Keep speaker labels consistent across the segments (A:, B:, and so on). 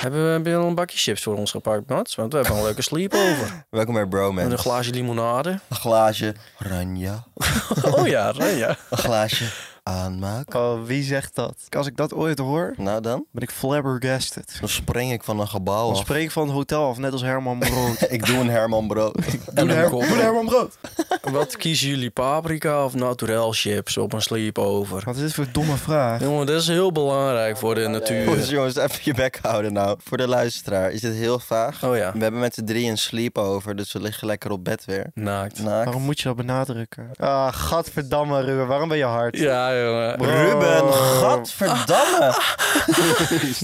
A: Hebben we, heb je al een bakje chips voor ons gepakt, Mats? Want we hebben een leuke sleepover.
B: Welkom bij Bromance.
A: En een glaasje limonade.
B: Een glaasje ranja.
A: Oh ja, ja.
B: Een glaasje aanmaak.
C: Oh, wie zegt dat? Als ik dat ooit hoor,
B: Nou dan,
C: ben ik flabbergasted.
B: dan spring ik van een gebouw
C: Dan
B: af.
C: spreek ik van het hotel af, net als Herman Brood.
B: Ik doe een Herman Brood.
A: En een
C: Herman,
A: kop.
C: Herman Brood.
A: Wat kiezen jullie, paprika of naturel chips op een sleepover?
C: Wat is dit voor een domme vraag?
A: Jongen, dat is heel belangrijk voor de
B: Jongens,
A: natuur.
B: jongens, even je bek houden nou. Voor de luisteraar is dit heel vaag.
A: Oh ja,
B: We hebben met z'n drieën een sleepover, dus we liggen lekker op bed weer.
A: naakt.
B: Naakt.
C: Waarom moet je dat benadrukken? Ah, gadverdamme, Ruben, waarom ben je hard?
A: Ja, jongen.
B: Ruben,
C: Bro.
B: gadverdamme!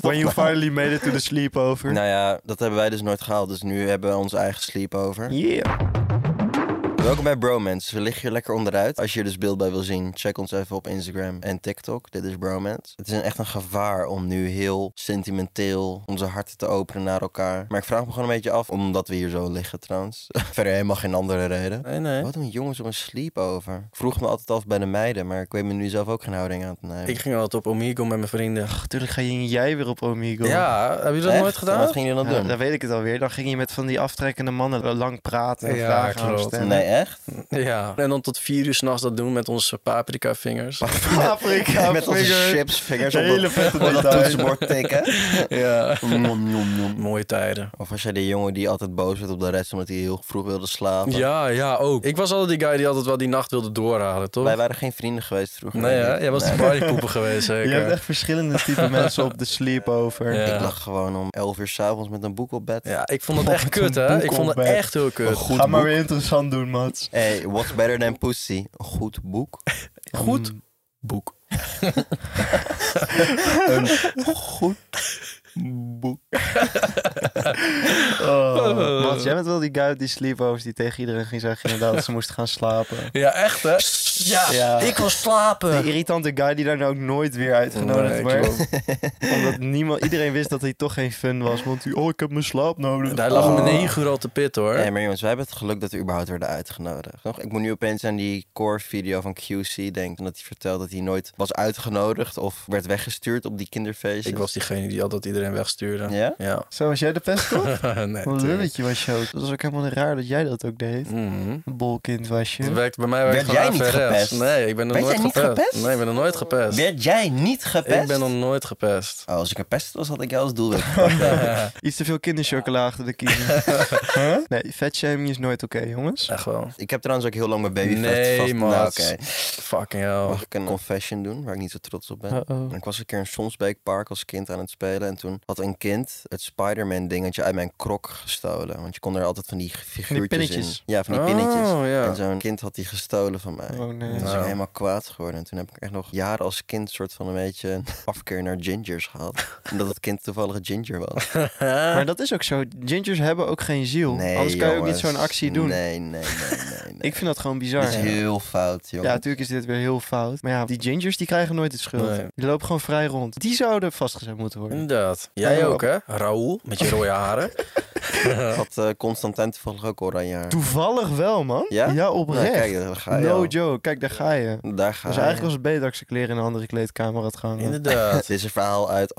C: When you finally made it to the sleepover.
B: nou ja, dat hebben wij dus nooit gehaald, dus nu hebben we ons eigen sleepover.
C: Yeah.
B: Welkom bij Bromance. We liggen hier lekker onderuit. Als je er dus beeld bij wil zien, check ons even op Instagram en TikTok. Dit is Bromance. Het is een- echt een gevaar om nu heel sentimenteel onze harten te openen naar elkaar. Maar ik vraag me gewoon een beetje af, omdat we hier zo liggen trouwens. Verder helemaal geen andere reden.
A: Nee, nee.
B: Wat doen jongens om een sleepover? Ik vroeg me altijd af bij de meiden, maar ik weet me nu zelf ook geen houding aan te nemen.
A: Ik ging altijd op Omigo met mijn vrienden.
C: Natuurlijk ga je en jij weer op Omigo.
A: Ja, heb je dat
B: Echt?
A: nooit
B: En
A: gedaan?
B: Wat ging je dan
C: Ja,
B: doen?
C: dan weet ik het alweer. Dan ging je met van die aftrekkende mannen lang praten en
A: Ja,
C: vragen aan hem
A: klopt.
C: stellen.
B: Nee, echt?
A: Ja. En dan tot vier uur s'nachts dat doen met onze paprika vingers.
C: Paprika,
B: Met onze
C: figure.
B: chipsvingers op,
C: Hele
B: dat-
C: vette
B: op dat
C: detail.
B: toetsenbord tikken.
A: Ja.
B: Nom, nom, nom.
A: Mooie tijden.
B: Of was jij die jongen die altijd boos werd op de rest omdat hij heel vroeg wilde slapen?
A: Ja, ja, ook. Ik was altijd die guy die altijd wel die nacht wilde doorhalen, toch?
B: Wij waren geen vrienden geweest vroeger.
A: Nee, hè?
B: denk ik.
A: Jij was de
B: Nee.
A: partypoeper geweest, zeker.
C: Je hebt echt verschillende type mensen op de sleepover.
A: Ja.
B: Ik lag gewoon om 11 uur s'avonds met een boek op bed.
A: Ja, ik vond het
C: Op
A: echt
C: het
A: kut, hè?
C: boek
A: Ik vond het
C: op bed.
A: echt heel
B: Een
A: kut.
B: goed
C: Ga
B: boek.
C: maar weer interessant doen, Mats.
B: Hey, what's better than pussy? Een goed boek.
A: Goed boek.
B: Goed boek.
C: Oh. Mats, jij bent wel die guy uit die sleepovers die tegen iedereen ging zeggen inderdaad dat ze moest gaan slapen.
A: Ja, echt, hè? Ja,
C: Ja.
A: ik wil
C: De
A: slapen.
C: irritante guy die daar nou ook nooit weer uitgenodigd
A: Nee,
C: werd. Omdat niemand, iedereen wist dat hij toch geen fun was. Want hij, oh, ik heb mijn slaap nodig.
A: Daar lag om
C: Oh.
A: negen uur al te pitten, hoor.
B: Nee, maar jongens, wij hebben het geluk dat we überhaupt werden uitgenodigd. Nog, ik moet nu opeens aan die core-video van QC denken. Dat hij vertelt dat hij nooit was uitgenodigd of werd weggestuurd op die kinderfeestjes.
A: Ik was diegene die altijd iedereen wegstuurde.
B: Ja?
A: Ja.
C: Zo, was jij de pest toch?
A: nee,
C: Wat een
A: tuurlijk.
C: lulletje was je ook. Dat was ook helemaal raar dat jij dat ook deed.
A: Mhm.
C: Een bolkind was je.
A: Het werkt, bij mij werkt
B: Werd
A: gewoon
B: jij niet
A: averechts.
B: gepest?
A: Nee, ik ben nog
B: Werd
A: nooit
B: jij niet gepest?
A: Nee, ik ben nog nooit gepest.
B: Werd jij niet gepest?
A: Ik ben nog nooit gepest.
B: Oh, als ik gepest was, had ik jou als doelwit.
C: Iets te veel kinderchocola achter de kiezen. Huh? Nee, vetshaming is nooit oké, jongens.
A: Echt wel.
B: Ik heb trouwens ook heel lang mijn babyvet
A: Nee,
B: vast. Nou,
A: maat.
B: oké.
A: Fucking hell.
B: Mag ik een confession doen waar ik niet zo trots op ben?
C: Uh-oh.
B: Ik was een keer in Sonsbeekpark als kind aan het spelen. En toen had een kind het Spider-Man dingetje uit mijn krok gestolen. Want je kon er altijd van die figuurtjes
C: pinnetjes.
B: in. Ja, van die pinnetjes.
A: Oh, ja.
B: En zo'n kind had die gestolen van mij.
C: Oh nee.
B: En toen is ik
A: Nou.
B: helemaal kwaad geworden. En toen heb ik echt nog jaren als kind soort van een beetje een afkeer naar gingers gehad. Omdat het kind toevallig een ginger was.
C: Maar dat is ook zo. Gingers hebben ook geen ziel.
B: Eh, Nee,
C: Anders kan je ook niet
B: jongens.
C: zo'n actie doen.
B: Nee, nee, nee, nee. nee.
C: Ik vind dat gewoon
B: Dit
C: bizar.
B: is heel fout, joh.
C: Ja, natuurlijk is dit weer heel fout. Maar ja, die gingers die krijgen nooit het schuld.
A: Nee.
C: Die lopen gewoon vrij rond. Die zouden vastgezet moeten worden.
A: Inderdaad. Jij
C: Ja.
B: Oh.
A: ook, hè? Raoul, met je rode haren.
B: Had eh, Constantijn toevallig ook oranje haar?
C: Toevallig wel, man.
B: Ja? Nou,
C: oprecht.
B: kijk, daar ga je
C: no
B: al.
C: joke. Kijk, daar ga je.
B: Daar ga
C: Dus
B: je.
C: eigenlijk was het beter dat ik zijn kleren in een andere kleedkamer had gehangen.
A: Inderdaad.
B: Dit is een verhaal uit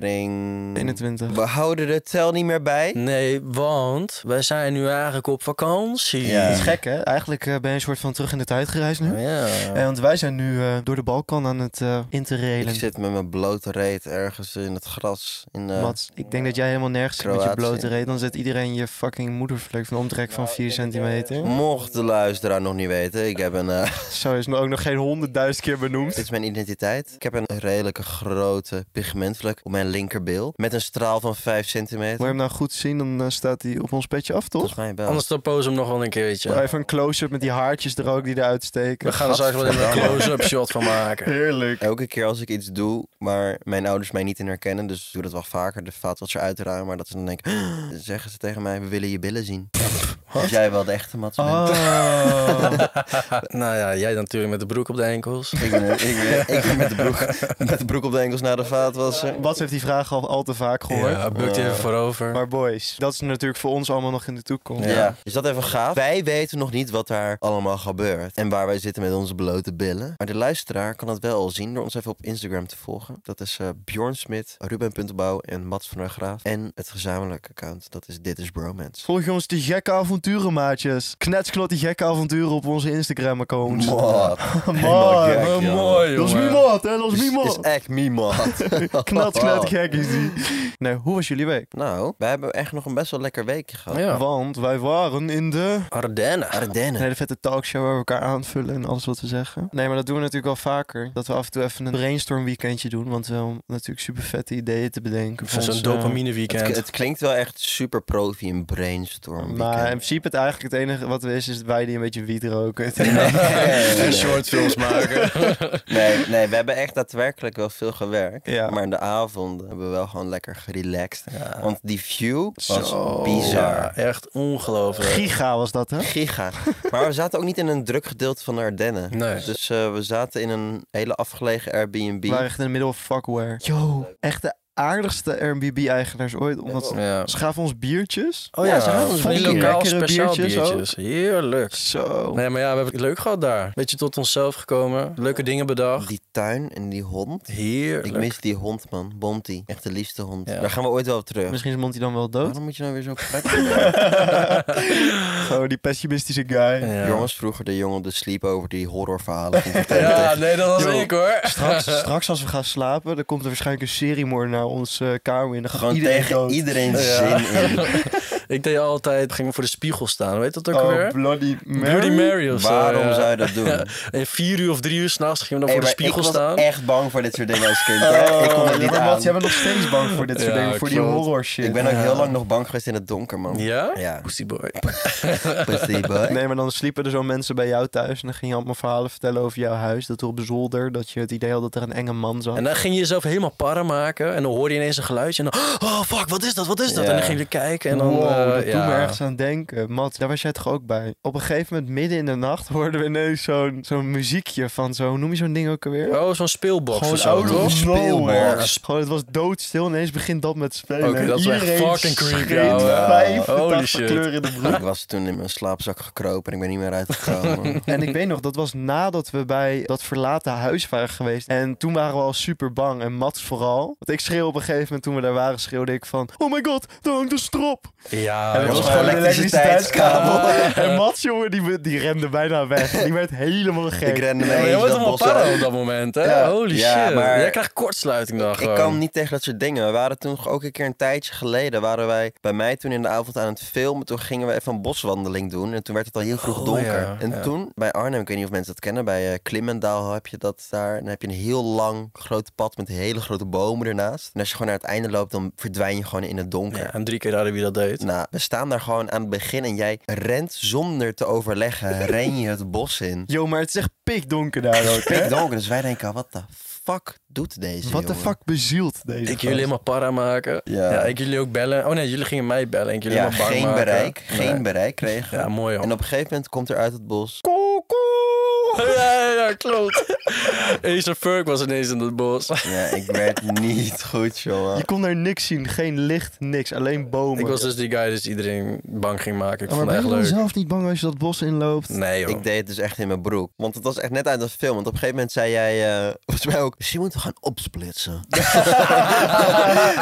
B: aflevering...
C: 21.
B: We houden de tel niet meer bij.
A: Nee, want wij zijn nu eigenlijk op vakantie.
B: Ja.
C: Dat is gek, hè? Eigenlijk eh, ben je een soort van terug in de tijd gereisd
B: Oh
C: nu.
A: Ja.
C: Eh, want wij zijn nu eh, door de Balkan aan het eh interrelen.
B: Ik zit met mijn blote reet ergens in het gras. In eh, de...
C: Mats, ik denk dat jij helemaal nergens zit met je
B: Kroatië.
C: blote reet. Dan zet iedereen je fucking moedervlek van omtrek van 4 centimeter.
B: Mocht de luisteraar nog niet weten, ik heb een... eh,
C: Zo is nog ook nog geen honderdduizend keer benoemd.
B: dit is mijn identiteit. Ik heb een redelijke grote pigmentvlek op mijn linkerbil. Met een straal van 5
C: Wil
B: centimeter.
C: je hem nou goed zien, dan eh, staat hij op ons petje af, toch?
B: Volgens mij wel.
A: Anders dan pose hem nog wel een keertje.
C: Even een close-up met die haartjes er ook die eruit steken.
A: We gaan er straks wel even een
B: Gadverdamme.
A: close-up shot van maken.
C: Heerlijk.
B: Elke keer als ik iets doe waar mijn ouders mij niet in herkennen, dus ik doe dat wel vaker, de vaat wat ze eruit ramen, maar dat ze dan denken, zeggen ze tegen mij, we willen je billen zien. Dus jij wel de echte Mats bent.
C: Oh.
A: Nou ja, jij dan natuurlijk met de broek op de enkels.
B: Ik, ben, ik, ben, ik ben met de broek, met de broek op de enkels naar de vaatwasser.
C: Bas heeft die vraag al, al te vaak gehoord.
A: Ja, bukt
B: Oh.
A: even voorover.
C: Maar boys, dat is natuurlijk voor ons allemaal nog in de toekomst.
B: Ja. is dat even gaaf? Wij weten nog niet wat daar allemaal gebeurt en waar wij zitten met onze blote billen. Maar de luisteraar kan dat wel al zien door ons even op Instagram te volgen. Dat is eh, Bjorn Smit, Ruben Puntenbouw en Mats van der Graaf. En het gezamenlijke account, dat is Dit is Bromance.
C: Volg ons die gekke avonturen, maatjes. Knetsklot die gekke avonturen op onze Instagram-accounts.
B: Wat? Helemaal
C: Man,
B: gek, joh.
C: dat is niemand, hè? Dat
B: Is,
C: is
B: is
C: niemand.
B: echt niemand.
C: Knat, knet, gek is die. Nee, hoe was jullie week?
B: Nou, wij hebben echt nog een best wel lekker weekje gehad.
A: Ja.
C: Want wij waren in de...
A: Ardennen.
B: Ardennen.
C: Een hele vette talkshow waar we elkaar aanvullen en alles wat we zeggen. Nee, maar dat doen we natuurlijk wel vaker. Dat we af en toe even een brainstorm weekendje doen. Want we hebben natuurlijk super vette ideeën te bedenken.
A: Van
C: voor
A: zo'n
C: ons, eh,
A: dopamine weekend.
B: Het, het klinkt wel echt super profi een brainstorm.
C: Maar in
B: weekend.
C: principe het eigenlijk het enige wat we is, is wij die een beetje wiet roken.
B: nee, nee.
A: shortfilms maken.
B: Nee, nee, we hebben echt daadwerkelijk wel veel gewerkt.
C: Ja.
B: Maar in de avonden hebben we wel gewoon lekker gerelaxed. Want die view was
A: Zo.
B: bizar.
A: Ja, echt ongelooflijk.
C: Giga was dat, hè?
B: Giga. Maar we zaten ook niet in een druk gedeelte van de Ardennen.
A: Nee.
B: Dus eh, we zaten in een hele afgelegen Airbnb.
C: We waren echt in het middel of fuckware. Yo, echt de aardigste Airbnb-eigenaars ooit. Omdat ze,
A: Ja.
C: ze gaven ons biertjes.
A: Oh ja, ze
B: Ja,
A: hadden
C: van
A: van
C: die
A: die lokaal
C: lekkere
A: speciaal
C: biertjes
A: biertjes. Heerlijk.
C: Zo.
A: Nee, maar ja, we hebben het leuk gehad daar. Beetje tot onszelf gekomen. Leuke dingen bedacht.
B: Die tuin en die hond. Ik
A: Heerlijk.
B: mis die hond, man. Bonty. Echt de liefste hond.
A: Ja.
B: Daar gaan we ooit wel op terug.
C: Misschien is Monty dan wel dood.
B: Waarom moet je nou weer zo prettig
C: Zo, die pessimistische guy.
A: Ja.
B: Jongens, vroeger de jongen de sleep over die horrorverhalen. ging vertellen
A: Ja,
B: tegen-
A: nee, dat was
C: Yo.
A: ik hoor.
C: Straks, straks als we gaan slapen, dan komt er waarschijnlijk een seriemoord naar ons eh, kamer in. Dan gaat
B: Gewoon
C: iedereen
B: tegen
C: dood.
B: iedereen
A: Ja.
B: zin in.
A: Ik deed altijd, ging voor de spiegel staan. Weet dat ook
C: Oh,
A: weer?
C: bloody Mary.
A: Bloody Mary of zo,
B: Waarom
A: ja.
B: zou je dat doen?
A: Ja. En vier uur of drie uur s'nachts gingen we dan
B: Hey,
A: voor de
B: maar
A: spiegel
B: ik was
A: staan.
B: echt bang voor dit soort dingen als kind.
C: Oh,
B: hoor. ik kon het
C: ja,
B: niet
C: maar
B: aan.
C: Mats, jij bent nog steeds bang voor dit soort
A: Ja,
C: dingen, voor die
A: klopt.
C: horror shit.
B: Ik ben ook heel lang nog bang geweest in het donker, man.
A: Ja?
B: Ja.
A: Pussy boy.
B: Pussy boy.
C: Nee, maar dan sliepen er zo mensen bij jou thuis en dan ging je allemaal verhalen vertellen over jouw huis. Dat er op de zolder, dat je het idee had dat er een enge man zat.
A: En dan ging je jezelf helemaal para maken. En dan hoorde je ineens een geluidje. En dan, oh fuck, wat is dat? Wat is dat?
B: Ja.
A: En dan ging je kijken. En dan,
C: wow,
A: eh,
C: dat doet
A: ja.
C: me ergens aan denken. Mats, daar was jij toch ook bij? Op een gegeven moment, midden in de nacht, hoorden we ineens zo'n zo'n muziekje van zo, hoe noem je zo'n ding ook alweer?
A: Oh, zo'n speelbox
C: Gewoon
A: of zo,
C: out
A: toch?
C: of nowhere.
A: Speelbox.
C: Gewoon, het was doodstil. Ineens begint dat met spelen.
A: Oké, dat is wel echt
C: Iedereen
A: fucking creepy,
C: schreeuwt
A: ouwe.
B: Ja.
C: 85
A: Holy shit.
C: kleur in de broek.
B: Ik was toen in mijn slaapzak gekropen en ik ben niet meer uitgekomen.
C: En ik weet nog, dat was nadat we bij dat verlaten huis waren geweest. En toen waren we al super bang. En Mats vooral. Want ik schreeuw op een gegeven moment toen we daar waren, schreeuwde ik van... Oh my god, daar hangt een strop!
A: Ja,
C: en
A: Ah, dat was
B: gewoon
A: gewoon
C: een
B: elektriciteitskabel.
C: En Mats, jongen, die, die rende bijna weg. Die werd helemaal
B: ik
C: gek.
B: rende
A: Ja, maar
B: mee eens
A: jij wordt
B: dat
A: allemaal
B: bos
A: para
B: uit.
A: op dat moment, hè?
B: Ja.
A: Holy
B: Ja,
A: shit.
B: maar-
A: Jij krijgt kortsluiting dan gewoon.
B: Ik kan niet tegen dat soort dingen. We waren toen ook een keer een tijdje geleden. Waren wij bij mij toen in de avond aan het filmen. Toen gingen we even een boswandeling doen. En toen werd het al heel vroeg
A: Oh,
B: donker.
A: ja,
B: en
A: ja.
B: toen bij Arnhem, ik weet niet of mensen dat kennen. Bij eh Klimmendaal heb je dat daar. En dan heb je een heel lang groot pad met hele grote bomen ernaast. En als je gewoon naar het einde loopt, dan verdwijn je gewoon in het donker.
A: Ja, en drie keer raden wie dat deed.
B: Nou, we staan daar gewoon aan het begin en jij rent zonder te overleggen, ren je het bos in.
C: Yo, maar het is echt pikdonker daar ook. hè?
B: Pikdonker, dus wij denken al, wat de fuck doet deze
C: Wat de
B: jongen?
C: fuck bezielt deze
A: Ik
C: gast?
A: jullie helemaal para maken.
B: Ja.
A: Ja. ik jullie ook bellen. Oh nee, jullie gingen mij bellen. Ik jullie
B: Ja,
A: helemaal bang
B: geen
A: maken.
B: bereik,
A: Nee. Oh.
B: geen bereik kregen.
A: Ja, mooi hoor.
B: en op een gegeven moment komt er uit het bos.
A: Ja, ja, ja, klopt. Ace Furk was ineens in het bos.
B: Ja, ik werd niet goed, jongen.
C: Je kon daar niks zien. Geen licht, niks. Alleen bomen.
A: Ik was dus die guy dus iedereen bang ging maken. Ik
C: Oh, maar
A: vond het
C: ben
A: echt
C: je
A: leuk.
C: dan zelf niet bang als je dat bos inloopt?
A: Nee joh.
B: Ik deed het dus echt in mijn broek. Want het was echt net uit een film. Want op een gegeven moment zei jij, eh, volgens mij ook, misschien moeten we gaan opsplitsen.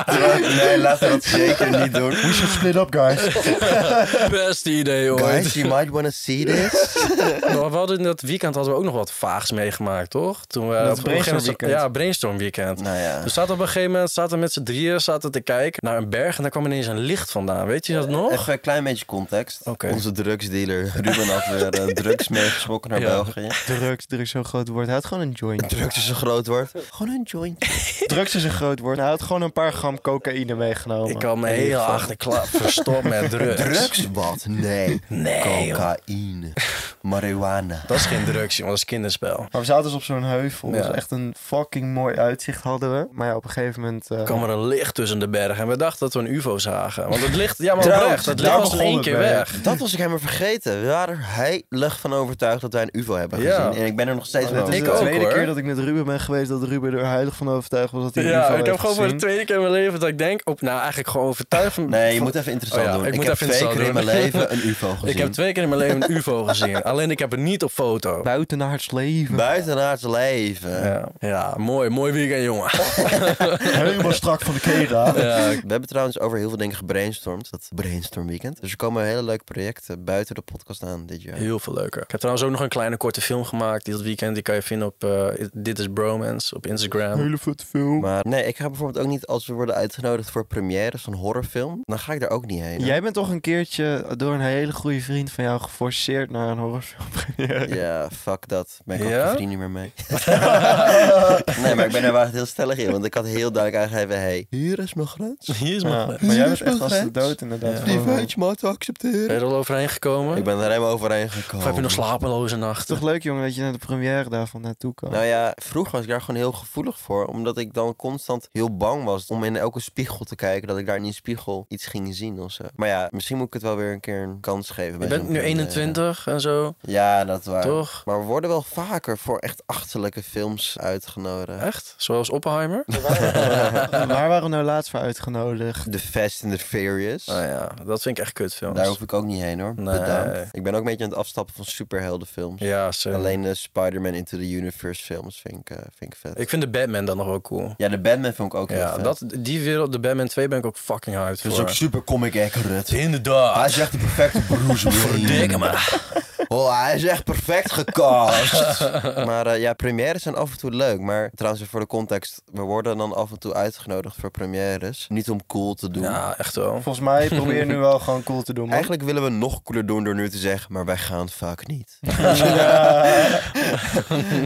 B: Terwijl ik, nee, laten we dat zeker niet doen.
C: We should split up, guys.
A: Beste idee ooit.
B: Guys, you might wanna see this.
A: Maar we hadden in dat weekend hadden we ook nog wat vaags meegemaakt, toch? Toen we op een gegeven moment-
C: brainstormweekend.
A: Ja, brainstorm weekend.
B: Nou ja.
A: We zaten op een gegeven moment zaten we met z'n drieën zaten te kijken naar een berg en daar kwam ineens een licht vandaan. Weet je dat nog?
B: Even een klein beetje context.
A: Oké.
B: Onze drugsdealer Ruben had weer eh, drugs meegesmokkeld naar
A: Ja.
B: België.
C: Drugs, drugs is zo'n groot woord. Hij had gewoon een joint.
B: Drugs is een groot woord. Gewoon een joint.
C: Drugs is een groot woord. Hij had gewoon een paar gram cocaïne meegenomen.
A: Ik had me
C: In ieder
A: heel
C: geval.
A: achterklap verstopt met drugs.
B: Drugs? Wat? Nee.
A: Nee, joh.
B: Cocaïne. Marihuana.
A: Dat is geen drugs, jongen. Dat is kinders spel.
C: Maar we zaten dus op zo'n heuvel.
A: Ja.
C: Dus echt een fucking mooi uitzicht hadden we. Maar ja, op een gegeven moment... eh,
A: Er kwam er een licht tussen de bergen en we dachten dat we een ufo zagen. Want het licht, ja maar
B: Trouwens,
A: oprecht, het licht
C: daar
A: was in
C: begon
A: één
C: het
A: keer
C: bij.
A: weg.
B: Dat was ik helemaal vergeten. We waren er heilig van overtuigd dat wij een UFO hebben
A: Ja.
B: gezien. En ik ben er nog steeds
C: dit
B: van
C: is
A: Ik
C: de
A: ook,
B: overtuigd.
C: tweede
A: hoor.
C: keer Oh, dat ik met Ruben ben geweest dat Ruben er heilig van overtuigd was dat hij een
A: Ja,
C: UFO
A: ik heb
C: heeft
A: gewoon voor de
C: gezien.
A: tweede keer in mijn leven dat ik denk, op, nou eigenlijk gewoon overtuigd van...
B: Nee, je
A: van-
B: moet even interessant
A: Oh ja,
B: doen.
A: ik
B: Ik,
A: moet
B: heb
A: even
B: twee keer in
A: interessant
B: mijn
A: doen.
B: leven een UFO gezien.
A: Ik heb twee keer in mijn leven een ufo gezien. Alleen ik heb het niet op foto.
C: Buitenaards leven.
B: Buitenaards leven.
A: Ja, ja mooi, mooi weekend jongen.
C: Helemaal strak van de
B: Oh.
C: kera.
A: Ja,
B: We hebben trouwens over heel veel dingen gebrainstormd. Dat brainstorm weekend. Dus er komen hele leuke projecten buiten de podcast aan dit jaar.
A: Heel veel leuker. Ik heb trouwens ook nog een kleine korte film gemaakt dit weekend. Die kan je vinden op eh, Dit is Bromance op Instagram.
C: Hele vette film.
B: Maar nee, ik ga bijvoorbeeld ook niet als we worden uitgenodigd voor premières van horrorfilm. Dan ga ik daar ook niet heen.
C: Jij bent toch een keertje door een hele goede vriend van jou geforceerd naar een horrorfilm.
B: Ja, fuck dat. Ben ik
A: Ja?
B: ook geen vriend niet meer mee. nee, maar ik ben er wel echt heel stellig in. Want ik had heel duidelijk aangegeven, hey, hier is mijn grens.
A: Hier is
C: Ja,
A: mijn
C: maar jij bent
B: Hier is
C: echt als de
B: mijn
C: dood inderdaad.
A: Ja.
C: Gewoon,
B: Die weet je maar te accepteren.
A: Ben je er al overheen gekomen?
B: Ik ben er helemaal overheen
A: Of
B: gekomen.
A: heb je nog slapeloze
C: Het is
A: nachten?
C: toch leuk jongen dat je naar de première daarvan naartoe kan.
B: Nou ja, vroeger was ik daar gewoon heel gevoelig voor. Omdat ik dan constant heel bang was om in elke spiegel te kijken. Dat ik daar in die spiegel iets ging zien of zo. Maar ja, misschien moet ik het wel weer een keer een kans geven.
A: Je
B: bij
A: bent
B: zo'n
A: nu
B: film, eh.
A: 21 en zo,
B: Ja, dat waar.
A: toch?
B: Maar we worden wel vaker voor echt achterlijke films uitgenodigd.
A: Echt? Zoals Oppenheimer?
C: Waar waren we nou laatst voor uitgenodigd?
B: The Fast and the Furious.
A: Nou ja, dat vind ik echt kutfilms.
B: Daar hoef ik ook niet heen hoor.
A: Nee.
B: Bedankt. Ik ben ook een beetje aan het afstappen van superheldenfilms.
A: Ja, same.
B: Alleen de Spider-Man Into the Universe films vind ik, eh, vind ik vet.
A: Ik vind de Batman dan nog wel cool.
B: Ja, de Batman vond ik ook heel
A: Ja,
B: vet.
A: dat, die wereld, de Batman 2 ben ik ook fucking hyped
B: Dat is
A: voor.
B: ook super comic accurate. Hij
A: Inderdaad.
B: is echt de perfecte Bruce Wayne.
A: Verdikke me.
B: Oh, hij is echt perfect gecast. maar eh, ja, premières zijn af en toe leuk. Maar trouwens, voor de context. We worden dan af en toe uitgenodigd voor premières. Niet om cool te doen.
A: Ja, echt wel.
C: Volgens mij probeer je nu wel gewoon cool te doen. man.
B: Eigenlijk willen we nog cooler doen door nu te zeggen, maar wij gaan vaak niet.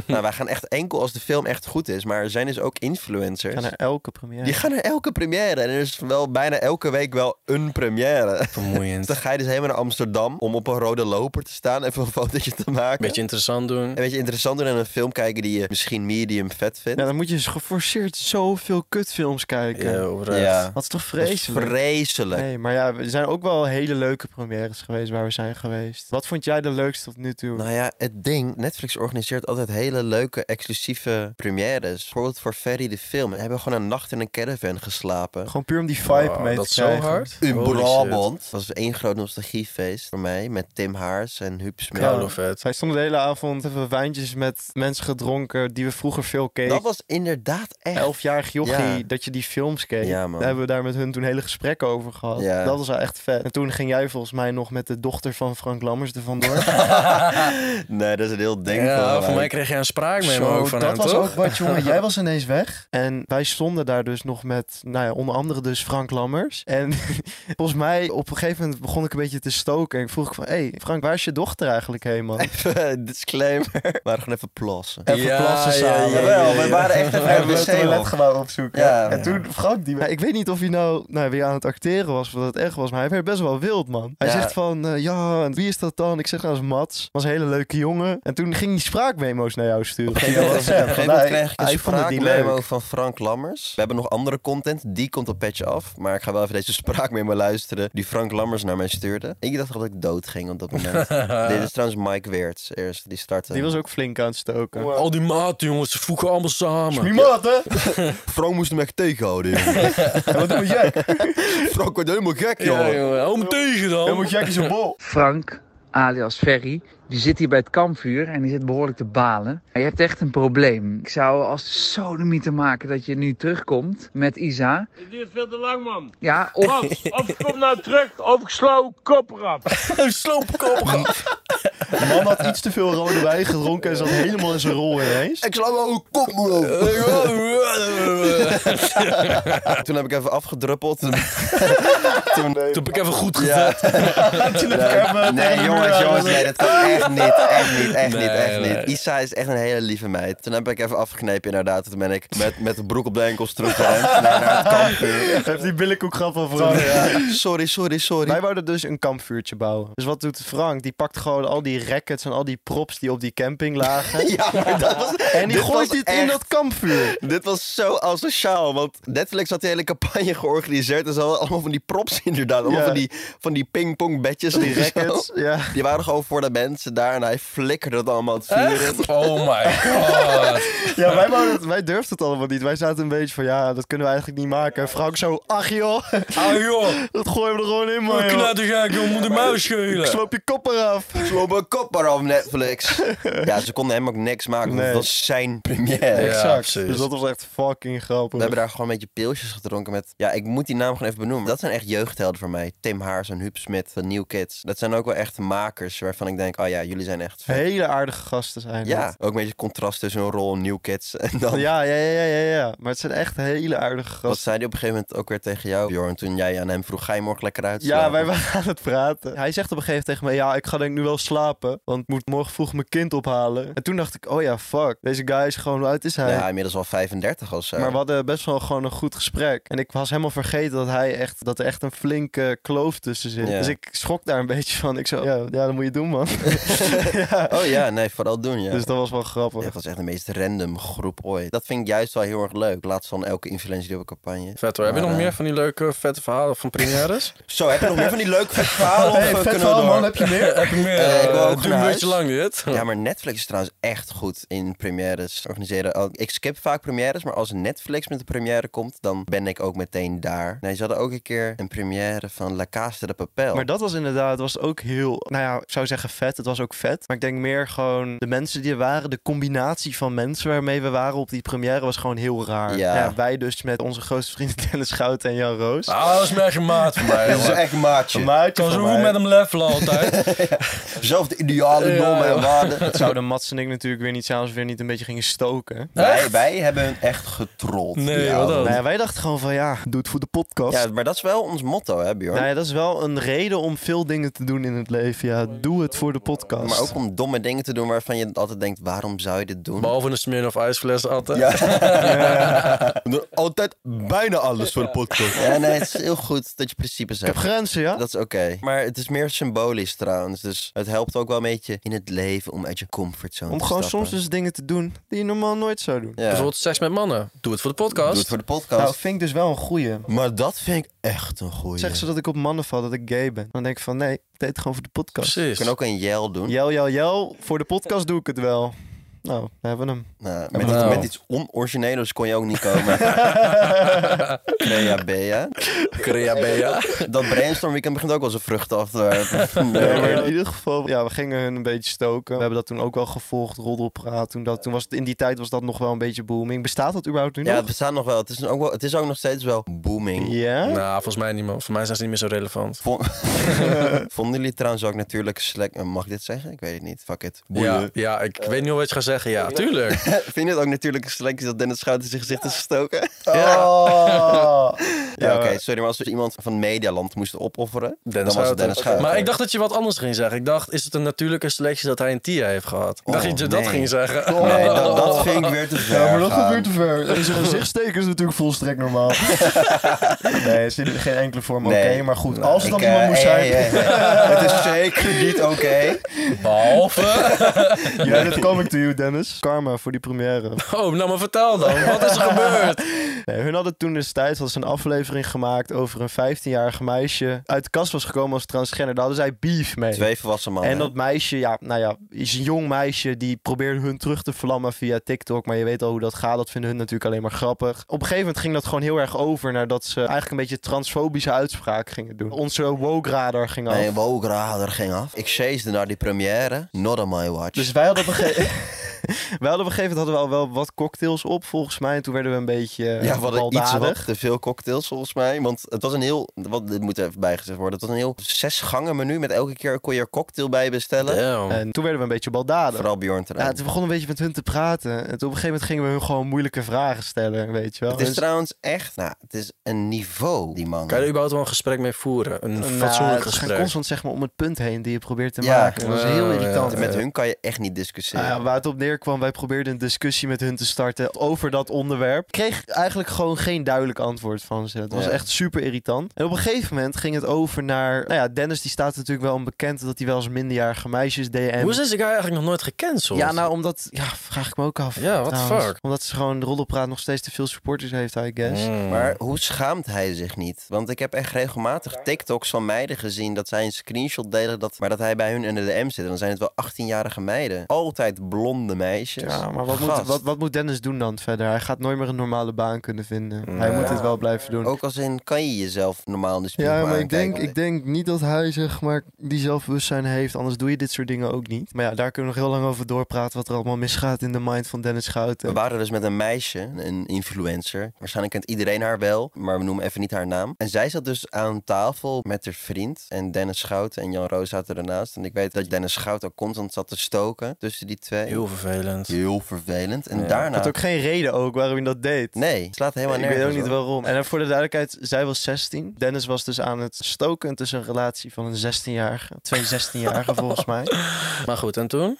B: nou, wij gaan echt enkel als de film echt goed is. Maar er zijn dus ook influencers.
C: Ik ga naar elke première.
B: Die gaan naar elke première. En er is wel bijna elke week wel een première. Dus dan
A: Vermoeiend.
B: ga je dus helemaal naar Amsterdam om op een rode loper te staan. Even een fotootje te maken.
A: Beetje interessant doen.
B: Een beetje interessant doen en een film kijken die je misschien medium vet vindt.
C: Ja, dan moet je dus geforceerd zoveel kutfilms kijken.
A: Ja, oprecht.
C: Dat is toch
B: Dat is
C: vreselijk?
B: vreselijk.
C: Nee, maar ja, er zijn ook wel hele leuke premières geweest waar we zijn geweest. Wat vond jij de leukste tot nu toe?
B: Nou ja, het ding, Netflix organiseert altijd hele leuke exclusieve premières. Bijvoorbeeld voor Ferry de film. We hebben gewoon een nacht in een caravan geslapen.
C: Gewoon puur om die vibe
A: Wow,
C: mee
A: dat
C: te
A: is zo
C: krijgen.
A: hard.
B: In
A: Holy shit.
B: Brabant. Dat was één groot nostalgiefeest voor mij. Met Tim Haars en Huub Smit.
A: Ja, wel vet.
C: Wij stonden de hele avond even wijntjes met mensen gedronken die we vroeger veel keken.
B: Dat was inderdaad echt...
C: Elfjarig jochie,
B: Ja.
C: dat je die films keek.
B: Ja, man.
C: Daar hebben we daar met hun toen hele gesprekken over gehad.
B: Ja.
C: Dat was wel echt vet. En toen ging jij volgens mij nog met de dochter van Frank Lammers er vandoor.
B: nee, dat is een heel ding
A: Ja,
B: van nou,
A: voor mij kreeg je een spraakmemo
C: Zo,
A: ook van
C: dat
A: hem,
C: was
A: toch?
C: ook wat, jongen. Jij was ineens weg. En wij stonden daar dus nog met, nou ja, onder andere dus Frank Lammers. En volgens mij, op een gegeven moment begon ik een beetje te stoken. En ik vroeg van, hé, hey, Frank, waar is je dochter eigenlijk heen, man?
B: Even disclaimer. Maar gewoon even plassen.
C: Even
A: Ja,
C: plassen
A: ja,
C: samen.
A: ja,
B: Jawel, we waren echt even naar de wc op.
C: gewoon opzoeken.
B: Ja.
C: en toen Frank die... Ik weet niet of hij nou, nou weer aan het acteren was, of dat het echt was, maar hij werd best wel wild, man. Hij
B: Ja.
C: zegt van, eh, ja, en wie is dat dan? Ik zeg nou, dat is Mats. Was een hele leuke jongen. En toen ging hij spraakmemo's naar jou sturen.
B: Op een gegeven moment- op een gegeven moment krijg ik
C: hij
B: een
C: vond het niet
B: spraakmemo
C: leuk.
B: van Frank Lammers. We hebben nog andere content, die komt op Patch af. Maar ik ga wel even deze spraakmemo luisteren die Frank Lammers naar mij stuurde. Ik dacht dat ik dood ging op dat moment. Dit is trouwens Mike Weerts eerst, die startte.
C: Die was ook flink aan het stoken.
A: Al die maten, jongens, ze voegen allemaal samen.
C: hè?
B: Frank moest hem echt tegenhouden. joh.
C: wat doe jij?
B: Frank wordt helemaal gek,
A: Ja,
B: joh.
A: jongen, hou me tegen dan.
C: jij zijn bol.
D: Frank, alias Ferry, die zit hier bij het kampvuur en die zit behoorlijk te balen. Je hebt echt een probleem. Ik zou als de sodemieter maken dat je nu terugkomt met Isa.
E: Dit duurt veel te lang, man.
D: Ja, of
E: Of, of ik kom nou terug, of ik sla uw kop eraf.
A: Sloopkop.
C: De man had iets te veel rode wijn gedronken en zat helemaal in zijn rol ineens.
B: Ik sla wel een kop, moeder.
A: Oh,
B: Toen heb ik even afgedruppeld. Toen- Toen...
A: Toen heb ik even goed
B: Ja.
A: gezet.
B: Nee, jongens, jongens, nee, dat kan echt niet, echt niet, echt niet, echt
A: Nee,
B: niet.
A: nee.
B: Isa is echt een hele lieve meid. Toen heb ik even afgeknepen inderdaad. Toen ben ik met, met de broek op de enkels teruggerend naar, naar het kampvuur.
C: Heeft die billenkoekgrap al Frank.
B: Sorry, sorry, sorry.
C: Wij wouden dus een kampvuurtje bouwen. Dus wat doet Frank? Die pakt gewoon al die rackets en al die props die op die camping lagen.
B: Ja, maar dat was,
C: En die
B: dit
C: gooit
B: was
C: dit in
B: echt-
C: dat kampvuur.
B: Dit was zo asociaal, want Netflix had die hele campagne georganiseerd. En ze hadden allemaal van die props inderdaad. Allemaal
C: Ja.
B: van die, van die pingpongbedjes en
C: Die
B: zo.
C: rackets, ja.
B: Die waren gewoon voor de mensen daar en hij flikkerde het allemaal het vuur in.
A: Echt? Oh my god.
C: Ja, wij, wouden, het- wij durfden het allemaal niet. Wij zaten een beetje van, ja, dat kunnen we eigenlijk niet maken. En Frank zo, ach joh,
A: Ah joh,
C: dat gooien we er gewoon in, man. joh.
A: knettergek joh, moet de muis
C: Ik
A: schelen.
C: sloop je kop eraf.
B: Sloop mijn kop maar af, Netflix. ja, ze konden hem ook niks maken, want
C: Nee.
B: het was zijn première.
A: Ja,
C: Exact.
A: precies.
C: Dus dat was echt fucking grappig.
B: We hebben daar gewoon een beetje pilsjes gedronken met... Ja, ik moet die naam gewoon even benoemen. Dat zijn echt jeugdhelden voor mij. Tim Haars en Huub Smit van New Kids. Dat zijn ook wel echt makers waarvan ik denk... Oh ja, jullie zijn echt vet.
C: Hele aardige gasten zijn
B: Ja,
C: dat.
B: ook een beetje contrast tussen een rol New Kids en dan...
C: Ja, ja, ja, ja, ja, ja. Maar het zijn echt hele aardige
B: Wat
C: gasten.
B: zei hij op een gegeven moment ook weer tegen jou, Bjorn? Toen jij aan hem vroeg, ga je morgen lekker uit?
C: Ja, wij waren aan het praten. Hij zegt op een gegeven moment tegen mij, ja, ik ga denk ik nu wel slapen. Want ik moet morgen vroeg mijn kind ophalen. En toen dacht ik, oh ja, fuck. Deze guy is gewoon, hoe oud is hij?
B: Nou Ja, inmiddels al 35 of zo.
C: Maar we hadden best wel gewoon een goed gesprek. En ik was helemaal vergeten dat, hij echt, dat er echt een flinke kloof tussen zit.
B: Ja.
C: Dus ik schrok daar een beetje van. Ik zo, ja, ja dat moet je doen, man. ja.
B: Oh ja, nee, vooral doen, ja.
C: Dus dat was wel
B: Ja,
C: grappig.
B: dat was echt de meest random groep ooit. Dat vind ik juist wel heel erg leuk. Laatst van elke influencer die op een campagne.
A: Vet hoor. Heb je nog
B: Maar, eh,
A: meer van die leuke, vette verhalen van premières?
B: Zo, heb je nog meer van die leuke vette verhalen? of, eh, kunnen we door?
C: je meer?
A: Heb je meer?
B: Eh, ik wil ook
A: Eh, Doe
B: naar
A: een
B: huis.
A: beetje lang dit.
B: Ja, maar Netflix is trouwens echt goed in premières organiseren. Al- Ik skip vaak premières, maar als Netflix met een première komt, dan ben ik ook meteen daar. Nee, ze hadden ook een keer een première van La Casa de Papel.
C: Maar dat was inderdaad was ook heel, nou ja, ik zou zeggen vet. Het was ook vet. Maar ik denk meer gewoon de mensen die er waren, de combinatie van mensen waarmee we waren op die première was gewoon heel raar.
B: Ja.
C: wij dus met onze grootste vrienden Dennis Schouten en Jan Roos.
A: Ah, dat is mijn gemaat voor mij.
B: Dat is
A: jongen.
B: echt een maatje.
C: Een maatje
A: Ik kan
C: van
A: zo
C: mij.
A: goed met hem levelen altijd.
B: Zelf de ideale
A: Ja,
B: normen en
A: ja.
B: waarden.
C: Dat zouden Mats en ik natuurlijk weer niet zijn als we weer niet een beetje gingen stoken.
B: Wij,
A: Echt?
B: wij hebben hun echt getrold.
A: Nee,
B: Ja,
A: wat dan?
C: Nou ja, wij dachten gewoon van ja, doe het voor de podcast.
B: Ja, maar dat is wel ons motto, hè, Bjorn?
C: nou ja, dat is wel een reden om veel dingen te doen in het leven. Ja, doe het voor de podcast.
B: Maar ook om domme dingen te doen waarvan je altijd denkt, waarom zou je dit doen?
A: Behalve een smeer of ijsfles altijd.
B: Ja.
F: We doen altijd bijna alles voor de podcast.
B: Ja, nee, het is heel goed dat je principes
C: Ik heb
B: hebt.
C: grenzen, ja?
B: Dat is oké. Maar het is meer symbolisch trouwens. Dus het helpt ook wel een beetje in het leven om uit je comfortzone
C: Om
B: te
C: gewoon soms
B: stappen.
C: dus dingen te doen die je normaal nooit zou doen.
B: Ja.
A: Bijvoorbeeld seks met mannen. Doe het voor de
B: Doe
A: podcast.
B: het voor de
C: Nou,
B: podcast.
C: vind ik dus wel een goeie.
B: Maar dat vind ik echt een goeie.
C: Zeg ze dat ik op mannen val, dat ik gay ben. Dan denk ik van nee, ik deed het gewoon voor de podcast.
B: Je
A: Precies.
B: kan ook een yell doen.
C: Jel, jel, jel, voor de podcast doe ik het wel. Nou, daar hebben we hem.
B: Nou, met,
A: Nou.
B: Iets, met iets onorigineels kon je ook niet komen. Crea Bea.
A: Korea Bea.
B: Dat brainstormweekend begint ook wel zijn vruchten af te werpen.
C: Ja, maar in ieder geval, ja, we gingen hun een beetje stoken. We hebben dat toen ook wel gevolgd, roddelpraat. Toen dat, toen was het, in die tijd was dat nog wel een beetje booming. Bestaat dat überhaupt nu
B: Ja, het
C: nog?
B: bestaat nog wel. Het is ook, wel, het is ook nog steeds wel booming.
C: Ja?
A: Nou, volgens mij niet meer. Voor mij zijn ze niet meer zo relevant.
B: Vo- Vonden jullie trouwens ook natuurlijk slecht... Mag ik dit zeggen? Ik weet het niet. Fuck it.
A: Ja, ja, ik
B: Eh.
A: weet niet hoe je het gaat zeggen. Ja, tuurlijk.
B: Vind je het ook natuurlijk slecht dat Dennis Schouten zijn gezicht is gestoken?
C: Oh.
B: Ja, oké. Sorry, maar als we iemand van Medialand moesten opofferen...
A: Dennis
B: dan was het
A: Schouten.
B: Dennis Schouten.
A: Maar ik dacht dat je wat anders ging zeggen. Ik dacht, is het een natuurlijke selectie dat hij een TIA heeft gehad? Ik dacht
B: Oh,
A: dat je dat
B: nee.
A: ging zeggen.
B: Nee, dat,
A: Oh.
B: dat vind ik weer te ver gaan.
C: ver. Deze gezichtsteken is natuurlijk volstrekt normaal. nee, is in geen enkele vorm
B: Nee. oké,
C: Maar goed,
B: Ik, eh, hey, hey, hey. Het is zeker niet oké.
A: Behalve...
C: dat coming to you, Dennis. Karma voor die première.
A: Oh, nou maar vertel dan. Wat is er gebeurd?
C: Nee, hun hadden toen destijds hadden ze een aflevering gemaakt over een 15-jarige meisje. Uit de kast was gekomen als transgender. Daar hadden zij beef mee.
B: Twee volwassen mannen.
C: En dat meisje, ja, nou ja, is een jong meisje die probeerde hun terug te vlammen via TikTok. Maar je weet al hoe dat gaat. Dat vinden hun natuurlijk alleen maar grappig. Op een gegeven moment ging dat gewoon heel erg over nadat ze eigenlijk een beetje transfobische uitspraak gingen doen. Onze woke radar ging af.
B: Nee, wow, radar ging af. Ik chased naar die première. Not on my watch.
C: Dus wij hadden op een gegeven Wij hadden op een gegeven moment hadden we al wel wat cocktails op, volgens mij. En toen werden we een beetje eh,
B: ja, we hadden iets
C: baldadig.
B: wat te veel cocktails volgens mij. Want het was een heel, wat, dit moet er even bijgezegd worden. Het was een heel zes gangen menu met elke keer kon je er cocktail bij bestellen.
A: Damn.
C: En toen werden we een beetje baldadig.
B: Oh. Vooral Bjorn
C: Ja,
B: trouwens.
C: toen begon een beetje met hun te praten. En toen op een gegeven moment gingen we hun gewoon moeilijke vragen stellen, weet je wel.
B: Het is
C: Dus-
B: trouwens echt, nou, het is een niveau, die man.
A: Kan je er überhaupt wel een gesprek mee voeren? Een
C: Nou,
A: fatsoenlijk
C: het gaat
A: gesprek.
C: constant zeg maar om het punt heen die je probeert te
B: Ja.
C: maken. Dat is heel
A: Ja,
C: irritant.
A: ja.
B: Met hun kan je echt eh, niet discussiëren.
C: Eh, Nou ja, waar het op neer keer kwam, wij probeerden een discussie met hun te starten over dat onderwerp. Kreeg eigenlijk gewoon geen duidelijk antwoord van ze. Het was
B: Ja.
C: echt super irritant. En op een gegeven moment ging het over naar... Nou ja, Dennis die staat natuurlijk wel onbekend dat hij wel eens minderjarige meisjes DM.
A: Hoe is deze guy eigenlijk nog nooit gecanceld?
C: Ja, nou omdat... Ja, vraag ik me ook af.
A: Ja, what the
C: trouwens.
A: fuck?
C: Omdat ze gewoon de roddelpraat nog steeds te veel supporters heeft, I guess.
A: Mm.
B: Maar hoe schaamt hij zich niet? Want ik heb echt regelmatig TikToks van meiden gezien dat zij een screenshot delen, dat, maar dat hij bij hun in de DM zit. En dan zijn het wel 18-jarige meiden. Altijd blonde meisjes.
C: Ja, maar wat
B: Gast.
C: moet, wat, wat moet Dennis doen dan verder? Hij gaat nooit meer een normale baan kunnen vinden. Hij moet dit wel blijven doen.
B: Ook als in, kan je jezelf normaal in de spiegel
C: Ja, maar ik
B: aankijken?
C: denk, ik denk niet dat hij zeg maar die zelfbewustzijn heeft. Anders doe je dit soort dingen ook niet. Maar ja, daar kunnen we nog heel lang over doorpraten. Wat er allemaal misgaat in de mind van Dennis
B: We
C: Schouten.
B: waren dus met een meisje, een influencer. Waarschijnlijk kent iedereen haar wel, maar we noemen even niet haar naam. En zij zat dus aan tafel met haar vriend. En Dennis Schout en Jan Roos zaten ernaast. En ik weet dat Dennis Schout ook constant zat te stoken tussen die twee.
A: Heel vervelend.
B: Heel vervelend. En
A: Ja.
B: daarna...
C: Had ook geen reden ook waarom hij dat deed.
B: Nee, het slaat helemaal
C: ik
B: nergens
C: weet ook niet
B: op.
C: waarom. En dan voor de duidelijkheid, zij was 16. Dennis was dus aan het stoken tussen een relatie van een 16-jarige. Twee 16-jarigen volgens mij.
A: Maar goed, en toen?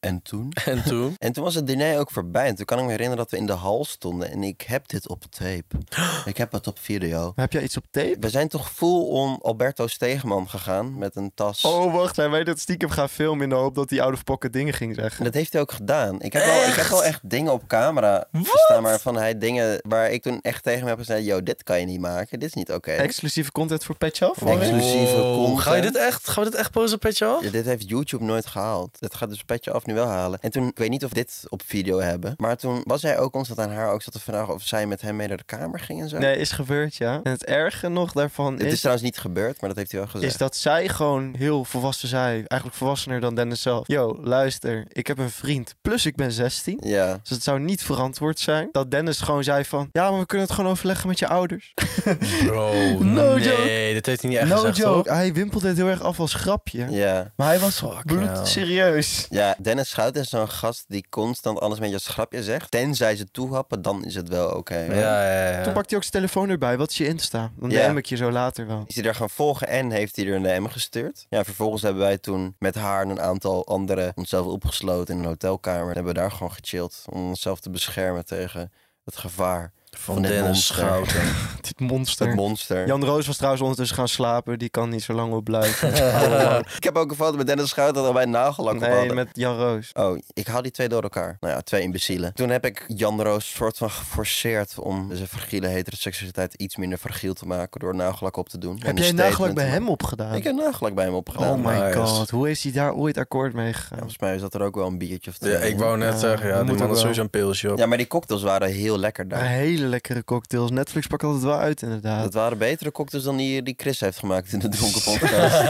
B: En toen?
A: En toen?
B: En toen was het diner ook voorbij. En toen kan ik me herinneren dat we in de hal stonden. En ik heb dit op tape. Ik heb het op video.
C: Heb jij iets op tape?
B: We zijn toch full om Alberto Stegeman gegaan met een tas.
C: Oh, wacht. Hij weet dat stiekem gaan filmen in de hoop dat hij out of pocket dingen ging zeggen.
B: En dat heeft hij ook gedaan. Ik heb, wel, ik heb wel echt dingen op camera staan waarvan hij dingen waar ik toen echt tegen hem heb gezegd: Yo, dit kan je niet maken. Dit is niet oké.
C: Exclusieve content voor Pet Shop?
B: Exclusieve content.
A: Ga je dit echt, gaan we dit echt posten op Petje af?
B: Ja, dit heeft YouTube nooit gehaald. Dat gaat dus Petje af nu wel halen. En toen, ik weet niet of we dit op video hebben. Maar toen was hij ook constant aan haar ook zat te vragen of zij met hem mee naar de kamer ging en zo.
C: Nee, is gebeurd, ja. En het erge nog daarvan
B: Het is
C: is,
B: trouwens niet gebeurd, maar dat heeft hij wel gezegd.
C: is dat zij gewoon heel volwassen zei. Eigenlijk volwassener dan Dennis zelf. Yo, luister, ik heb een vriend, plus ik ben 16.
B: Ja.
C: Dus het zou niet verantwoord zijn dat Dennis gewoon zei van... Ja, maar we kunnen het gewoon overleggen met je ouders.
A: Bro,
C: No
A: nee,
C: joke.
A: dit heeft hij niet echt
C: no
A: gezegd,
C: joke.
A: hoor.
C: Hij wimpelde het heel erg af als grapje.
B: Ja.
C: Maar hij was
A: Fuck
C: bloed
A: hell.
C: serieus.
B: Ja, Dennis Schout is zo'n gast die constant alles met je als grapje zegt. Tenzij ze toehappen, dan is het wel oké.
A: Ja, ja, ja.
C: Toen pakte hij ook zijn telefoon erbij. Wat is je Insta? Dan
B: Ja.
C: DM ik je zo later wel.
B: Is hij daar gaan volgen en heeft hij er een DM gestuurd. Ja, vervolgens hebben wij toen met haar en een aantal anderen onszelf opgesloten in een hotelkamer. En hebben we daar gewoon gechilled om onszelf te beschermen tegen het gevaar
A: Van
B: van dit
A: Dennis
B: monster.
A: Schouten.
C: Dit monster.
B: Het monster.
C: Jan Roos was trouwens ondertussen gaan slapen. Die kan niet zo lang op blijven.
B: Ik heb ook een foto met Dennis Schout dat al mijn nagellak op
C: nee,
B: hadden.
C: met Jan Roos.
B: Oh, ik haal die twee door elkaar. Nou ja, twee imbecielen. Toen heb ik Jan Roos soort van geforceerd om zijn fragiele heteroseksualiteit iets minder fragiel te maken door nagellak op te doen. En
C: Heb jij een
B: statement
C: nagelak bij
B: te
C: hem
B: maken.
C: opgedaan?
B: Ik heb nagellak bij hem
C: Oh
B: opgedaan.
C: my
A: nice.
C: god, hoe is hij daar ooit akkoord mee
B: Ja,
C: gegaan?
B: volgens mij zat er ook wel een biertje of twee.
A: Ja, ik
B: in.
A: wou net
C: Ja,
A: zeggen, ja,
C: dat
A: die
C: moet
A: man
C: ook
A: had
C: wel.
A: sowieso een pilsje op.
B: Ja, maar die cocktails waren heel lekker
A: Ah,
B: daar.
C: Maar hele lekkere cocktails. Netflix pakt altijd wel uit inderdaad.
B: Dat waren betere cocktails dan die, die Chris heeft gemaakt in de dronken podcast.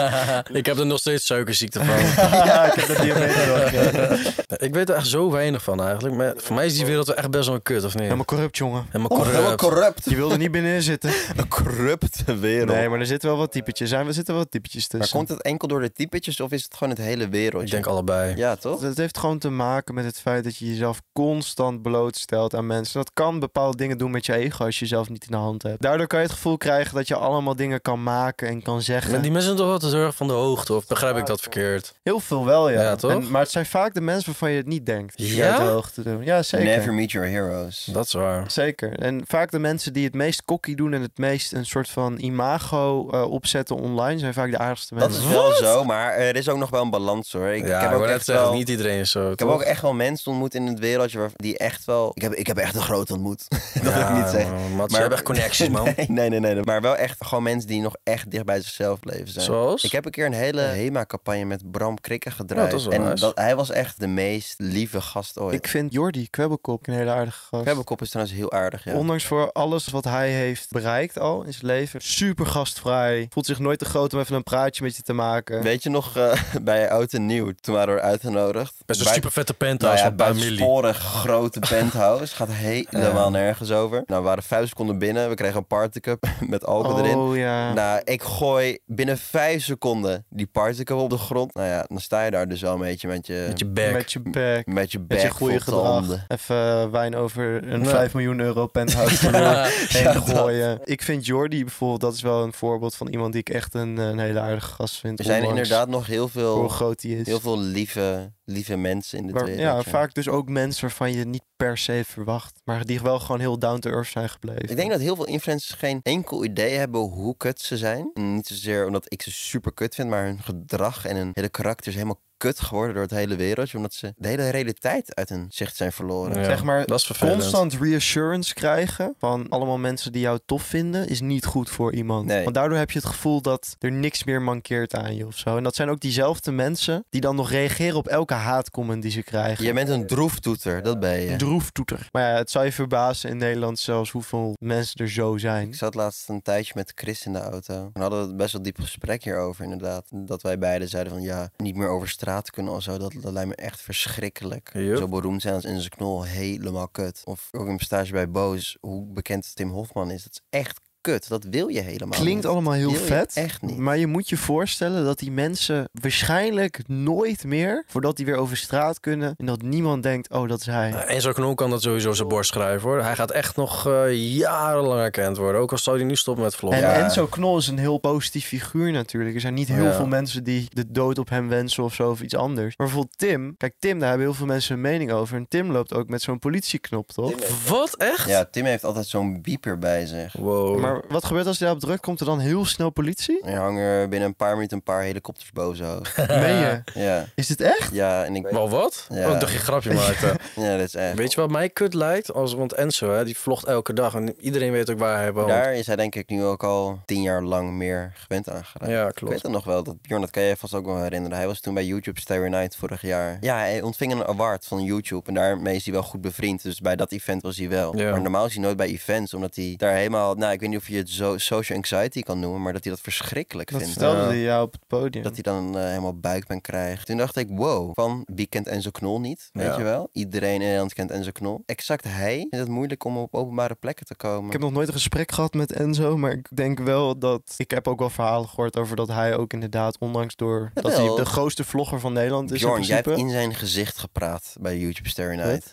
A: ik heb er nog steeds suikerziekte van.
C: ja, ik heb dat diabetes wel gekregen.
A: ik weet er echt zo weinig van eigenlijk. Maar voor mij is die wereld wel echt best wel een kut, of niet?
C: Helemaal corrupt, jongen.
A: Helemaal
B: Oh, helemaal
A: corrupt.
B: corrupt.
C: Je wil er niet binnen zitten.
B: Een corrupte wereld.
C: Nee, maar er zitten wel wat typetjes. Zijn, er zitten wel wat typetjes
B: maar
C: tussen.
B: komt het enkel door de typetjes of is het gewoon het hele wereld?
A: Ik denk allebei.
B: Ja, toch?
C: Het heeft gewoon te maken met het feit dat je jezelf constant blootstelt aan mensen. Dat kan bepaalde dingen doen met je ego als je jezelf niet in de hand hebt. Daardoor kan je het gevoel krijgen dat je allemaal dingen kan maken en kan zeggen.
A: Maar die mensen zijn toch altijd heel erg van de hoogte, of begrijp ik dat verkeerd?
C: Heel veel wel, ja.
A: Ja, toch?
C: En- maar het zijn vaak de mensen waarvan je het niet denkt. Die
A: Ja?
C: uit de hoogte doen. Ja, zeker.
B: Never meet your heroes.
A: Dat is waar.
C: Zeker. En vaak de mensen die het meest kokkie doen en het meest een soort van imago eh, opzetten online, zijn vaak de aardigste
B: Dat
C: mensen.
B: is wel zo, maar er is ook nog wel een balans hoor. Ik,
A: ja,
B: ik heb
A: ik
B: ook
A: wou
B: echt
A: net zeggen,
B: wel...
A: niet iedereen is zo.
B: Ik heb ook echt wel mensen ontmoet in het wereldje waar- die echt wel... Ik heb, ik heb echt een groot ontmoet. dat wil ik niet zeggen.
A: Maar ze hebben echt connecties, man.
B: nee, nee, nee, nee. Maar wel echt gewoon mensen die nog echt dicht bij zichzelf bleven zijn.
A: Zoals?
B: Ik heb een keer een hele HEMA-campagne met Bram Krikke gedraaid.
A: dat is wel
B: en
A: nice.
B: dat, hij was echt de meest lieve gast ooit.
C: Ik vind Jordi Kwebbelkop een hele aardige gast.
B: Kwebbelkop is trouwens heel aardig, ja.
C: Ondanks voor alles wat hij heeft bereikt al in zijn leven. Super gastvrij. Voelt zich nooit te groot om even een praatje met je te maken.
B: Weet je nog, eh, bij Oud en Nieuw, toen waren we uitgenodigd.
A: Best een
B: Bij-
A: super vette
B: nou
A: penthouse
B: ja,
A: van een paar milli.
B: buitensporig grote penthouse. Gaat helemaal nergens over. Nou, we waren vijf seconden binnen. We kregen een partycup met alcohol erin.
C: Oh ja.
B: Nou, ik gooi binnen vijf seconden die particle op de grond. Nou ja, dan sta je daar dus al een beetje met je...
A: Met je bek.
C: Met je
B: Met
C: bek.
B: je
C: Met je
B: bek
C: goede
B: vol
C: gedrag.
B: tanden.
C: Even eh, wijn over een
A: Ja.
C: 5 miljoen euro penthouse verloren heen gooien. Ik vind Jordi bijvoorbeeld, dat is wel een voorbeeld van iemand die ik echt een, een hele aardige gast vind.
B: Er zijn
C: ondanks
B: inderdaad nog heel
C: Hoe
B: veel,
C: groot die is.
B: heel veel lieve, lieve mensen in de
C: Maar-
B: wereld.
C: Dus ja, vaak dus ook mensen waarvan je niet per se verwacht. Maar die wel gewoon heel down to earth zijn gebleven.
B: Ik denk dat heel veel influencers geen enkel idee hebben hoe kut ze zijn. En niet zozeer omdat ik ze super kut vind, maar hun gedrag en hun hele karakter is helemaal kut geworden door het hele wereldje. Omdat ze de hele realiteit uit hun zicht zijn verloren.
A: Ja,
C: zeg maar,
A: dat is vervelend.
C: constant reassurance krijgen van allemaal mensen die jou tof vinden, is niet goed voor iemand.
B: Nee.
C: Want daardoor heb je het gevoel dat er niks meer mankeert aan je of zo. En dat zijn ook diezelfde mensen die dan nog reageren op elke haatcomment die ze krijgen.
B: Je bent een droeftoeter, dat ben je.
C: Een droeftoeter. Maar ja, het zou je verbazen in Nederland zelfs hoeveel mensen er zo zijn.
B: Ik zat laatst een tijdje met Chris in de auto. We hadden het best wel diep gesprek hierover, inderdaad. Dat wij beiden zeiden van ja, niet meer over straat kunnen of zo. Dat, dat lijkt me echt verschrikkelijk.
A: Yup.
B: Zo beroemd zijn als in zijn knol, helemaal kut. Of ook in mijn stage bij Boos, hoe bekend Tim Hofman is. Dat is echt kut. Dat wil je helemaal niet.
C: Klinkt allemaal heel
B: Wil je
C: vet.
B: echt niet.
C: Maar je moet je voorstellen dat die mensen waarschijnlijk nooit meer, voordat die weer over straat kunnen, en dat niemand denkt, oh dat is hij.
A: Nou, Enzo Knol kan dat sowieso op zijn borst schrijven hoor. Hij gaat echt nog eh, jarenlang herkend worden. Ook al zou hij nu stoppen met vloggen.
C: En
B: Ja.
C: Enzo Knol is een heel positief figuur natuurlijk. Er zijn niet heel
A: Ja.
C: veel mensen die de dood op hem wensen of zo of iets anders. Maar bijvoorbeeld Tim. Kijk, Tim, daar hebben heel veel mensen een mening over. En Tim loopt ook met zo'n politieknop, toch?
A: Wat? Echt?
B: Ja, Tim heeft altijd zo'n bieper bij zich.
A: Wow.
C: Maar wat gebeurt als hij daarop drukt? Komt er dan heel snel politie?
B: Er hangen er binnen een paar minuten een paar helikopters boven zijn hoofd.
C: Meen je?
B: ja,
C: Is dit echt?
B: ja, en ik...
A: Wel wat?
B: Ja.
A: Oh, ik dacht je een grapje maakte.
B: Ja, dat is echt...
A: Weet je wat mij kut lijkt? Als, want Enzo, hè, die vlogt elke dag. En iedereen weet ook waar hij woont.
B: Daar is hij denk ik nu ook al tien jaar lang meer gewend aan geraakt.
A: Ja,
B: Ik weet
A: klopt.
B: het nog wel, dat, Bjorn, dat kan je vast ook wel herinneren. Hij was toen bij YouTube Starry Night vorig jaar. Ja, hij ontving een award van YouTube en daarmee is hij wel goed bevriend. Dus bij dat event was hij wel.
A: Ja.
B: Maar normaal is hij nooit bij events, omdat hij daar helemaal... Nou, ik weet niet of je het zo, social anxiety kan noemen, maar dat hij dat verschrikkelijk
C: Dat
B: vindt.
C: vertelde
A: Ja.
C: hij jou op het podium.
B: Dat hij dan eh, helemaal buikpijn krijgt. Toen dacht ik, wow, van wie kent Enzo Knol niet? Weet
A: Ja.
B: je wel? Iedereen in Nederland kent Enzo Knol. Exact hij vindt het moeilijk om op openbare plekken te komen.
C: Ik heb nog nooit een gesprek gehad met Enzo, maar ik denk wel dat... Ik heb ook wel verhalen gehoord over dat hij ook inderdaad, ondanks door... dat hij
B: Jawel.
C: de grootste vlogger van Nederland is
B: Bjorn,
C: in
B: jij
C: principe.
B: hebt in zijn gezicht gepraat bij YouTube Starry Night.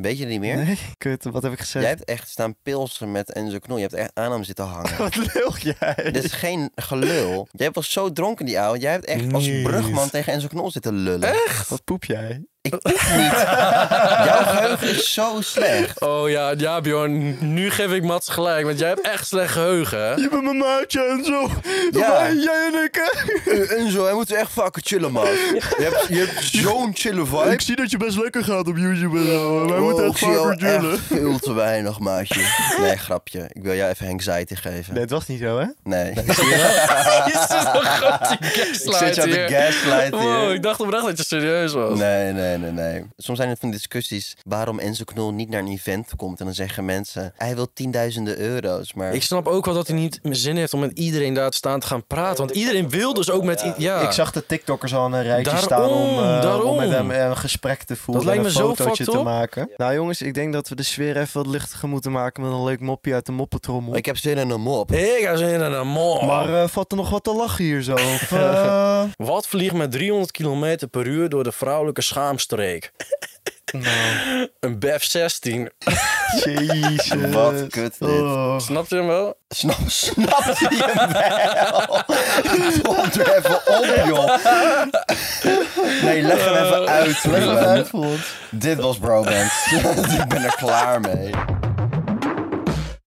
B: Weet je dat niet meer?
C: Nee, kut, wat heb ik gezegd?
B: Jij hebt echt staan pilsen met Enzo Knol. Je hebt echt aan hem zitten hangen.
C: Wat lul jij?
B: Dit is geen gelul. Jij was zo dronken die ouwe. Jij hebt echt als
A: Niet.
B: brugman tegen Enzo Knol zitten lullen. Echt?
C: Wat poep jij?
B: Ik niet. Jouw geheugen is zo slecht.
A: Oh ja, ja Bjorn, nu geef ik Mats gelijk. Want jij hebt echt slecht geheugen. hè?
C: Je bent mijn maatje en zo.
B: Ja.
C: Jij en ik, hè?
B: Eh, Enzo, hij moet echt vaker chillen, man. Je hebt, je hebt zo'n chille
C: Ik zie dat je best lekker gaat op YouTube en zo. maar Wij moeten echt vaker
B: Oh, echt
C: dullen.
B: veel te weinig, maatje. Nee, grapje. Ik wil jou even anxiety geven.
C: Nee, het was niet zo, hè?
B: Nee.
A: Jezus, wat groot die
B: Ik zit
A: gaslight
B: je aan de
A: hier.
B: gaslight
A: Wow,
B: hier.
A: ik dacht oprecht dat je serieus was.
B: Nee, nee, nee, nee. Soms zijn het van die discussies waarom Enzo Knol niet naar een event komt. En dan zeggen mensen, hij wil tienduizenden euro's. Maar
A: Ik snap ook wel dat hij niet zin heeft om met iedereen daar te staan te gaan praten. Want iedereen wil dus ook met... i- Ja,
C: Ik zag de TikTokkers al in een rijtje
A: Daarom,
C: staan om, eh, om
A: daarom.
C: met hem eh, een gesprek te voeren.
A: Dat lijkt
C: en
A: me
C: een
A: zo
C: fotootje
A: fucked
C: te
A: up.
C: maken. Nou jongens, ik denk dat we de sfeer even wat lichtiger moeten maken met een leuk mopje uit de moppetrommel.
B: ik heb zin in een mop.
A: ik ga zin in een mol.
C: Maar eh, valt er nog wat te lachen hier zo? Of, eh,
A: Wat vliegt met 300 km per uur door de vrouwelijke schaamstreek?
C: nou,
A: Een BEF 16.
C: jezus.
B: Wat kut dit.
C: Oh.
A: Snap je hem wel?
B: Snap, snap je hem wel? Stond er even op, joh. Nee, leg hem even uit.
C: Leg
B: Ruben.
C: even uit voor ons.
B: Dit was Bromance. ik ben er klaar mee.